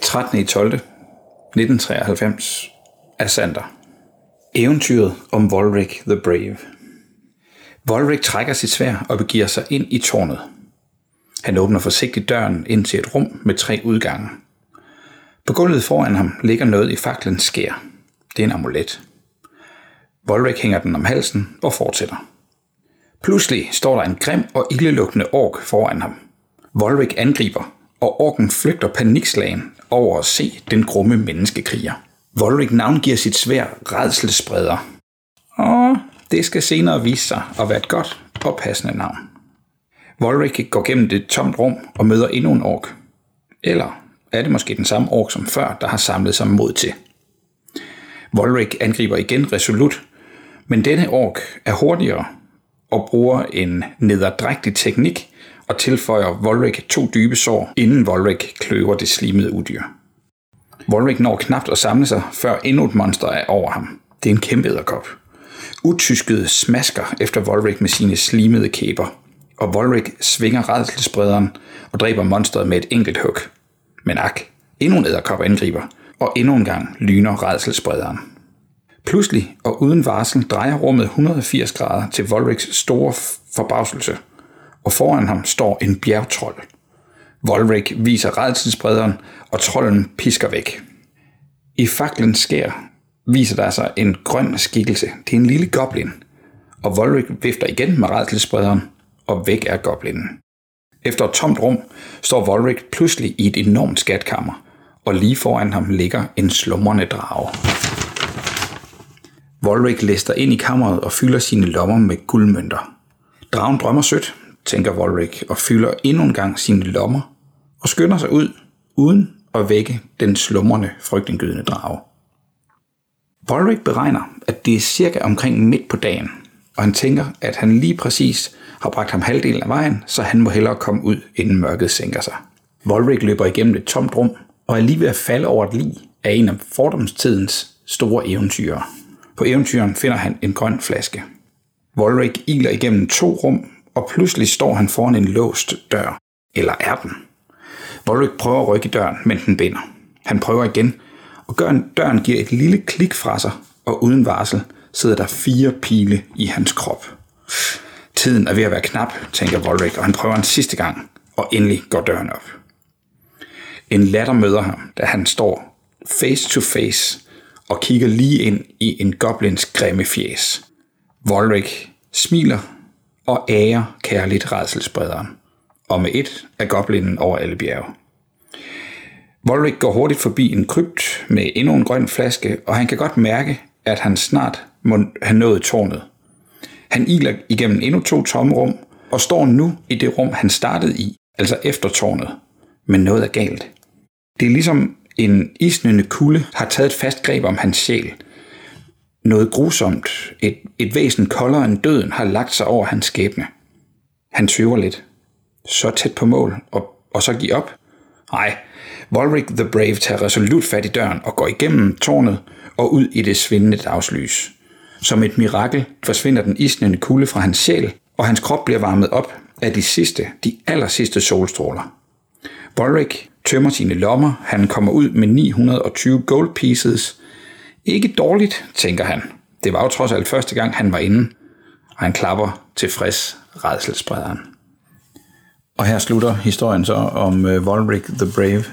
S2: den. 13. i 12. 1993 af Sander. Eventyret om Volric the Brave. Volric trækker sit svær og begiver sig ind i tårnet. Han åbner forsigtigt døren ind til et rum med tre udgange. På gulvet foran ham ligger noget i faklens skær. Det er en amulet. Volric hænger den om halsen og fortsætter. Pludselig står der en grim og ildelugtende ork foran ham. Volric angriber, og orken flygter panikslagen over at se den grumme menneskekriger. Volric navngiver sit svær redselspreder. Og det skal senere vise sig at være et godt og passende navn. Volric går gennem det tomt rum og møder endnu en ork. Eller er det måske den samme ork som før, der har samlet sig mod til? Volric angriber igen resolut, men denne ork er hurtigere og bruger en nederdrægtig teknik og tilføjer Volric to dybe sår, inden Volric kløver det slimede udyr. Volric når knapt at samle sig, før endnu et monster er over ham. Det er en kæmpe edderkop. Utyskede smasker efter Volric med sine slimede kæber, og Volric svinger redselsprederen og dræber monstret med et enkelt hug. Men ak, endnu en æderkop angriber, og endnu en gang lyner redselsprederen. Pludselig og uden varsel drejer rummet 180 grader til Volriks store f- forbavselse, og foran ham står en bjergtrold. Volrik viser redselsbrederen, og trolden pisker væk. I faklen skær viser der sig en grøn skikkelse. Det er en lille goblin, og Volrik vifter igen med redselsbrederen, og væk er goblinen. Efter et tomt rum står Volrik pludselig i et enormt skatkammer, og lige foran ham ligger en slumrende drage. Volrik lister ind i kammeret og fylder sine lommer med guldmønter. Dragen drømmer sødt, tænker Volrik, og fylder endnu en gang sine lommer og skynder sig ud, uden at vække den slumrende, frygtindgydende drage. Volrik beregner, at det er cirka omkring midt på dagen, og han tænker, at han lige præcis har bragt ham halvdelen af vejen, så han må hellere komme ud, inden mørket sænker sig. Volrik løber igennem et tomt rum, og er lige ved at falde over et lig af en af fordomstidens store eventyrer. På eventyren finder han en grøn flaske. Volrik iler igennem to rum, og pludselig står han foran en låst dør. Eller er den? Volrik prøver at rykke i døren, men den binder. Han prøver igen, og gør- døren giver et lille klik fra sig, og uden varsel sidder der fire pile i hans krop. Tiden er ved at være knap, tænker Volrik, og han prøver en sidste gang, og endelig går døren op. En latter møder ham, da han står face to face og kigger lige ind i en goblins grimme fjes. Volrik smiler og ærer kærligt redselsprederen, og med et er goblinen over alle bjerge. Volrik går hurtigt forbi en krypt med endnu en grøn flaske, og han kan godt mærke, at han snart må have nået tårnet. Han iler igennem endnu to tomme rum, og står nu i det rum, han startede i, altså efter tårnet. Men noget er galt. Det er ligesom en isnende kulde har taget et fast greb om hans sjæl. Noget grusomt, et, et væsen koldere end døden, har lagt sig over hans skæbne. Han tøver lidt. Så tæt på mål, og, og så give op. Nej, Volric the Brave tager resolut fat i døren og går igennem tårnet og ud i det svindende dagslys. Som et mirakel forsvinder den isnende kulde fra hans sjæl, og hans krop bliver varmet op af de sidste, de aller sidste solstråler. Warwick tømmer sine lommer. Han kommer ud med 920 gold pieces. Ikke dårligt, tænker han. Det var jo trods alt første gang, han var inde. Og han klapper tilfreds redselsprederen. Og her slutter historien så om uh, Volric the Brave.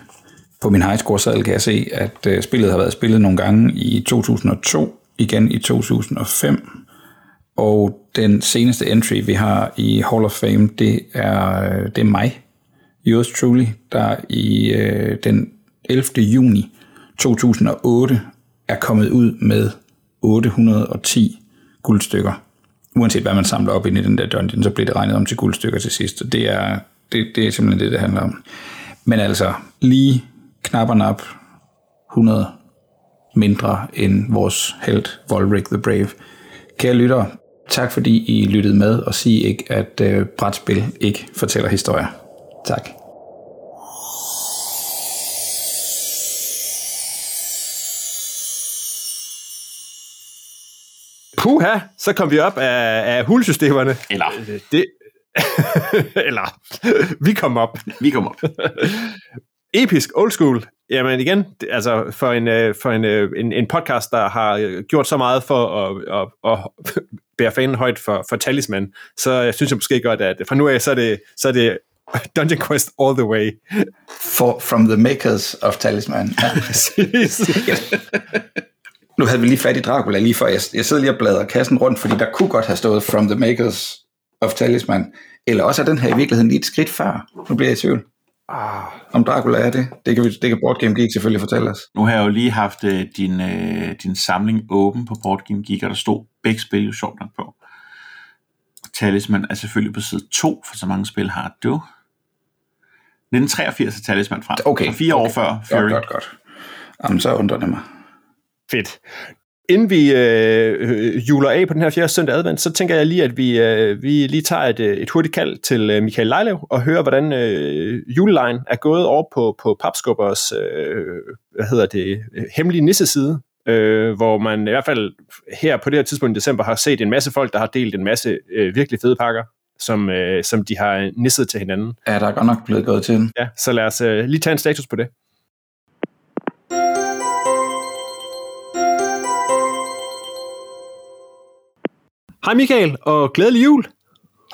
S2: På min highscore-sadel kan jeg se, at uh, spillet har været spillet nogle gange i 2002, igen i 2005, og den seneste entry, vi har i Hall of Fame, det er, øh, det er mig, yours truly, der i øh, den 11. juni 2008 er kommet ud med 810 guldstykker. Uanset hvad man samler op ind i den der dungeon, så bliver det regnet om til guldstykker til sidst, og det er, det, det er simpelthen det, det handler om. Men altså, lige knap og nap 100 mindre end vores held, Volric the Brave. Kære lyttere, tak fordi I lyttede med, og sig ikke, at øh, brætspil ikke fortæller historier. Tak.
S3: Puha, så kom vi op af, af hulsystemerne.
S1: Eller,
S3: Øh, Det, [laughs] eller, vi kom op.
S1: vi kommer op.
S3: Episk, old school. Jamen igen, det, altså for en, øh, for en, øh, en, en podcast, der har øh, gjort så meget for at, at, [laughs] at bære fanen højt for, for talisman, så jeg synes jeg måske godt, at fra nu af, så er det, så er det Dungeon Quest all the way. [laughs]
S2: For, from the makers of Talisman. Ja. nu havde vi lige fat i Dracula lige før. Jeg, jeg sidder lige og bladrer kassen rundt, fordi der kunne godt have stået From the makers of Talisman. Eller også er den her i virkeligheden lige et skridt før. Nu bliver jeg i tvivl.
S3: ah,
S2: Om Dracula er det, det kan, vi, det kan Board Game Geek selvfølgelig fortælle os.
S1: Nu har jeg jo lige haft øh, din, øh, din samling åben på Board Game Geek, og der stod begge spil jo sjovt nok på. Talisman er selvfølgelig på side 2, for så mange spil har du. 1983 er Talisman frem.
S2: Okay,
S1: Og fire år
S2: okay.
S1: før Fury.
S2: Godt, godt, godt. Jamen, så undrer det mig.
S3: Fedt. Inden vi øh, øh, juler af på den her fjerde søndag advent, så tænker jeg lige, at vi, øh, vi lige tager et, øh, et hurtigt kald til øh, Michael Leilev og hører, hvordan øh, julelejen er gået over på, på Papskubbers øh, hvad hedder det, øh, hemmelige nisseside, øh, hvor man i hvert fald her på det her tidspunkt i december har set en masse folk, der har delt en masse øh, virkelig fede pakker, som, øh, som de har nisset til hinanden.
S2: Er der godt nok blevet gået til den?
S3: Ja, så lad os øh, lige tage en status på det. Hej Michael, og glædelig jul.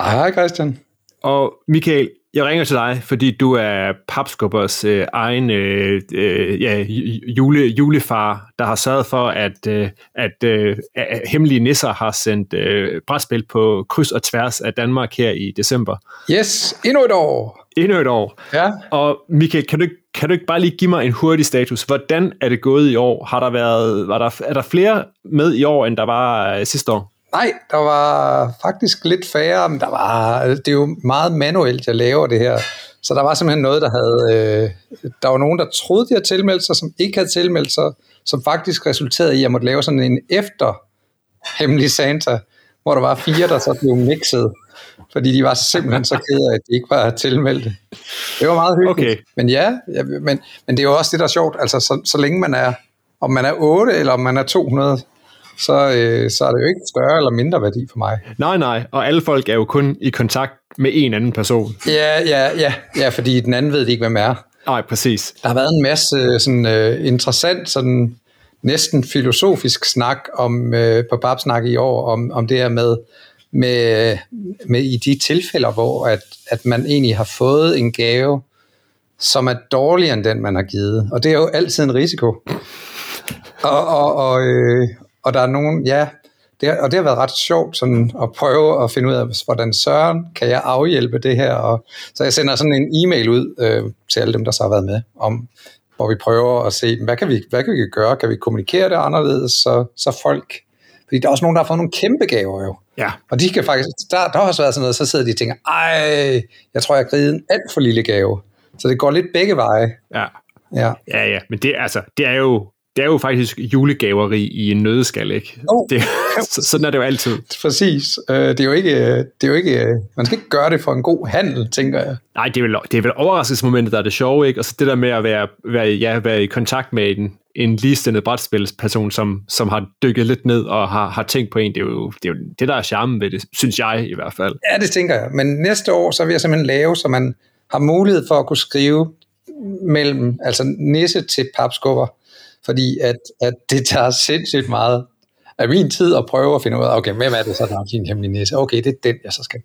S2: Hej, Christian.
S3: Og Michael, jeg ringer til dig, fordi du er papskubbers øh, egen øh, øh, ja, ju- jule, julefar, der har sørget for, at, øh, at øh, at hemmelige nisser har sendt øh, brætspil på kryds og tværs af Danmark her i december.
S2: Yes, endnu et år.
S3: Endnu et år.
S2: Ja.
S3: Og Michael, kan du, ikke- kan du ikke bare lige give mig en hurtig status? Hvordan er det gået i år? Har der været, var der, er der flere med i år, end der var øh, sidste år?
S4: Nej, der var faktisk lidt færre, men der var, det er jo meget manuelt, jeg laver det her. Så der var simpelthen noget, der havde... Øh, der var nogen, der troede, de havde tilmeldt sig, som ikke havde tilmeldt sig, som faktisk resulterede i, at jeg måtte lave sådan en efter hemmelig Santa, hvor der var fire, der så blev mixet, fordi de var simpelthen så kede af, at de ikke var tilmeldt. Det var meget hyggeligt.
S3: Okay.
S4: Men ja, ja men, men det er jo også det, der er sjovt. Altså, så, så længe man er, om man er 8 eller om man er 200, så, øh, så er det jo ikke større eller mindre værdi for mig.
S3: Nej, nej. Og alle folk er jo kun i kontakt med en anden person.
S4: Ja, ja, ja, ja, fordi den anden ved de ikke, hvem er.
S3: Nej, præcis.
S4: Der har været en masse øh, sådan, øh, interessant, sådan, næsten filosofisk snak om, øh, på Babsnak i år, om, om det her med, med, med i de tilfælde, hvor at, at man egentlig har fået en gave, som er dårligere end den, man har givet. Og det er jo altid en risiko. Og, og, og, øh, og der er nogen, ja, det, har- og det har været ret sjovt sådan at prøve at finde ud af, hvordan søren kan jeg afhjælpe det her. Og, så jeg sender sådan en e-mail ud øh, til alle dem, der så har været med, om, hvor vi prøver at se, hvad kan vi, hvad kan vi gøre? Kan vi kommunikere det anderledes, så, så folk... Fordi der er også nogen, der har fået nogle kæmpe gaver jo.
S3: Ja.
S4: Og de kan faktisk, der, der har også været sådan noget, så sidder de og tænker, ej, jeg tror, jeg har givet en alt for lille gave. Så det går lidt begge veje.
S3: Ja,
S4: Ja.
S3: ja, ja. men det, er altså, det er jo det er jo faktisk julegaveri i en nødeskal, ikke?
S4: Jo.
S3: Det, så- sådan er det jo altid.
S4: Præcis. Øh, det er jo ikke, øh, det er jo ikke, øh, man skal ikke gøre det for en god handel, tænker jeg.
S3: Nej, det er vel, det er vel overraskelsesmomentet, der er det sjove, ikke? Og så det der med at være, være, ja, være i kontakt med en, en ligestillet brætspilsperson, som, som har dykket lidt ned og har, har tænkt på en, det er, jo, det er jo det, der er charmen ved det, synes jeg i hvert fald.
S4: Ja, det tænker jeg. Men næste år, så vil jeg simpelthen lave, så man har mulighed for at kunne skrive mellem, altså nisse til papskubber, fordi at, at det tager sindssygt meget af min tid at prøve at finde ud af, okay, hvem er det så, der har din hemmelige nisse? Okay, det er den, jeg så skal.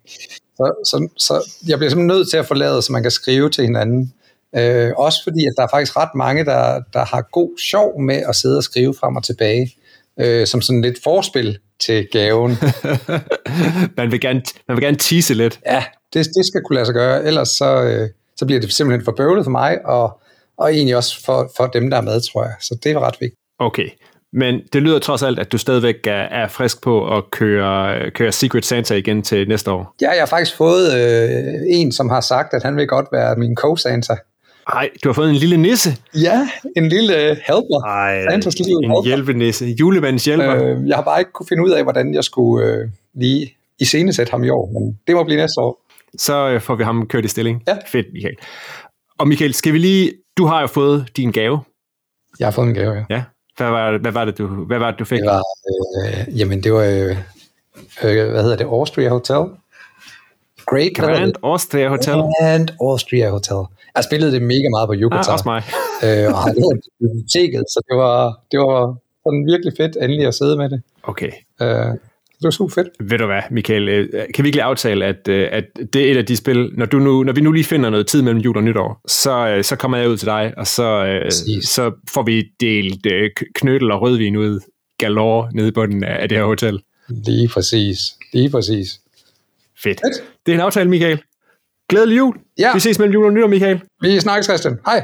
S4: Så, så, så jeg bliver simpelthen nødt til at forlade, så man kan skrive til hinanden. Øh, også fordi, at der er faktisk ret mange, der, der har god sjov med at sidde og skrive frem og tilbage, øh, som sådan lidt forspil til gaven.
S3: Man vil gerne, man vil gerne tease lidt.
S4: Ja, det, det skal kunne lade sig gøre, ellers så, øh, så bliver det simpelthen for bøvlet for mig, og, og egentlig også for, for dem, der er med, tror jeg. Så det er ret vigtigt.
S3: Okay, men det lyder trods alt, at du stadigvæk er, er frisk på at køre, køre Secret Santa igen til næste år.
S4: Ja, jeg har faktisk fået øh, en, som har sagt, at han vil godt være min co-santa.
S3: Nej, du har fået en lille nisse.
S4: Ja, en lille øh, helper. Santas lille
S3: en
S4: helper.
S3: hjælpenisse. Julemandens hjælper.
S4: Øh, jeg har bare ikke kunne finde ud af, hvordan jeg skulle øh, lige iscenesætte ham i år, men det må blive næste år.
S3: så øh, får vi ham kørt i stilling.
S4: Ja.
S3: Fedt, Michael. Og Michael, skal vi lige... Du har jo fået din gave.
S4: Jeg har fået en gave, ja.
S3: Ja. Hvad var, det- hvad var, det, du, hvad var det, du fik?
S4: Det var, øh, jamen, det var, øh, øh, hvad hedder det, Austria Hotel? Great, hvad hedder det?
S3: Grand Austria Hotel.
S4: Grand Austria Hotel. Jeg spillede det mega meget på
S3: Ah,
S4: Yucatan,
S3: også mig.
S4: øh, og har lånt det i biblioteket, så det var, det var sådan virkelig fedt endelig at sidde med det.
S3: Okay.
S4: Øh, det var super fedt.
S3: Ved du hvad, Michael? øh, Kan vi ikke lige aftale, at, øh, at det er et af de spil, når, du nu, når vi nu lige finder noget tid mellem jul og nytår, så, øh, så kommer jeg ud til dig, og så, øh,
S4: Præcis.
S3: så får vi delt øh, k- knødel og rødvin ud galore nede i bunden af af det her hotel.
S4: Lige præcis. Lige præcis.
S3: Fedt. Det er en aftale, Michael. Glædelig jul.
S4: Ja.
S3: Vi ses mellem jul og nytår, Michael.
S4: Vi snakkes, Christian. Hej.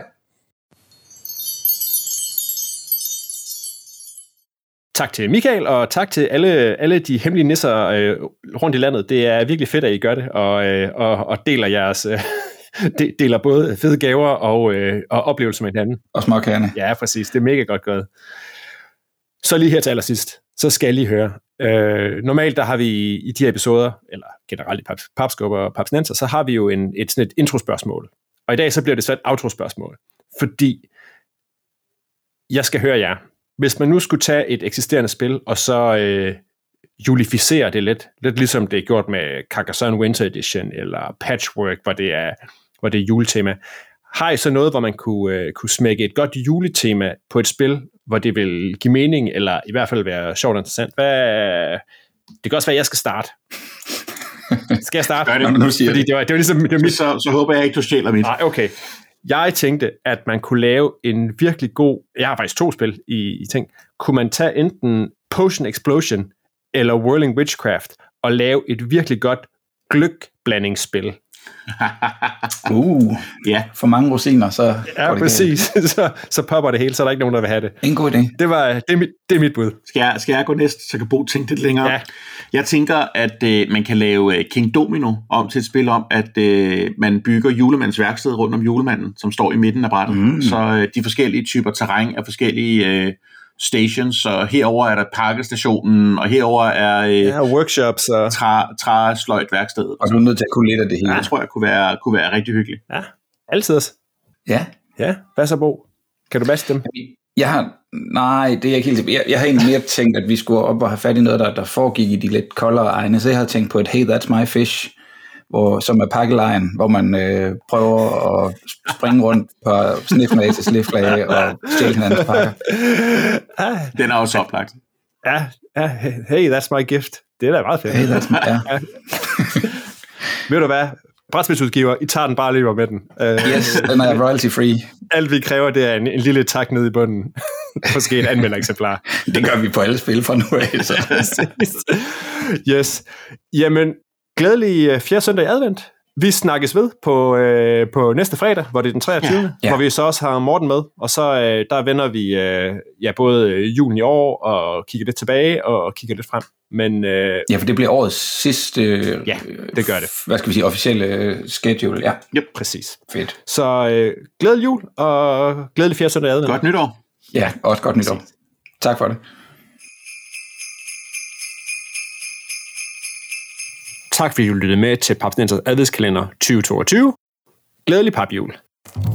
S3: Tak til Michael, og tak til alle, alle de hemmelige nisser øh, rundt i landet. Det er virkelig fedt, at I gør det, og, øh, og, og deler jeres... Øh, [laughs] de- deler både fede gaver og, øh, og oplevelser med hinanden.
S2: Og småkagerne.
S3: Ja, præcis. Det er mega godt gået. Så lige her til allersidst, så skal jeg lige høre. Øh, normalt der har vi i, i de her episoder, eller generelt i paps, papskubber og papsnenser, så har vi jo en, et, sådan et introspørgsmål. Og i dag så bliver det så et outro-spørgsmål. Fordi jeg skal høre jer. Hvis man nu skulle tage et eksisterende spil, og så øh, julificere det lidt, lidt ligesom det er gjort med Carcassonne Winter Edition, eller Patchwork, hvor det er, hvor det er juletema. Har I så noget, hvor man kunne, øh, kunne smække et godt juletema på et spil, hvor det vil give mening, eller i hvert fald være sjovt og interessant? Hvad, det kan også være, at jeg skal starte. Skal jeg starte?
S1: Gør det.
S2: Nå, nu siger jeg
S3: Fordi det var, det var ligesom det var mit
S1: Så, så håber jeg ikke, du stjæler mit.
S3: Nej, okay. Jeg tænkte, at man kunne lave en virkelig god... Jeg har faktisk to spil i, i ting. Kunne man tage enten Potion Explosion eller Whirling Witchcraft og lave et virkelig godt gløk-blandingsspil?
S2: Uh,
S1: Ja.
S2: for mange rosiner, så går
S3: Ja,
S2: det
S3: præcis. [laughs] så, så popper det hele, så er der ikke nogen, der vil have det.
S2: galt. En god idé.
S3: Det, var, det, er, mit, det er mit bud.
S1: Skal jeg, skal jeg gå næst, så kan Bo tænke lidt længere?
S3: Ja.
S1: Jeg tænker, at øh, man kan lave øh, King Domino om til et spil om, at øh, man bygger julemandens værksted rundt om julemanden, som står i midten af brættet.
S2: Mm.
S1: Så øh, de forskellige typer terræn er forskellige øh, stations, så herover er der pakkestationen, og herover er øh, ja.
S3: workshops og...
S1: træ, træsløjt værkstedet.
S2: Og du er nødt til at kunne lidt af det hele.
S1: Ja. Det tror jeg kunne være, kunne være rigtig hyggeligt.
S3: Ja, altid.
S2: Ja.
S3: Ja, hvad så, Bo? Kan du matche [laughs] dem?
S2: Jeg har, nej, det er jeg ikke helt jeg, jeg har egentlig mere tænkt, at vi skulle op og have fat i noget, der, der foregik i de lidt koldere egne. Så jeg havde tænkt på et Hey, That's My Fish, hvor, som er pakkelejen, hvor man øh, prøver at springe rundt på sniflag til sniflag og stjæle hinandens pakker.
S3: Ah,
S1: Den er også oplagt.
S3: ja, ja, hey, that's my gift. Det er da meget fedt.
S2: Hey, that's my, ja.
S3: [laughs] Ved du hvad? brætspidsudgiver, I tager den bare lige med den. Uh,
S2: Yes, den er royalty free.
S3: alt vi kræver, det er en, en lille tak ned i bunden. [laughs] Måske et anmeldereksemplar. [laughs]
S2: Det gør vi på alle spil fra nu af. Så.
S3: yes. Jamen, glædelig øh, fjerde søndag i advent. Vi snakkes ved på, øh, på næste fredag, hvor det er den 23. Ja.
S2: Ja.
S3: Hvor vi så også har Morten med. Og så øh, der vender vi øh, ja, både øh, julen i år og kigger lidt tilbage og kigger lidt frem. Men øh,
S2: Ja, for det bliver årets sidste... øh,
S3: Ja, det gør det.
S2: Hvad skal vi sige? Officielle øh, schedule. Ja,
S3: præcis.
S2: fedt.
S3: Så øh, glædelig jul og glædelig fjerde søndag i advent.
S1: Godt nytår.
S2: Ja, også godt nytår. Tak for det.
S3: Tak fordi du lyttede med til Papsnensers adventskalender 2022. Glædelig papjul.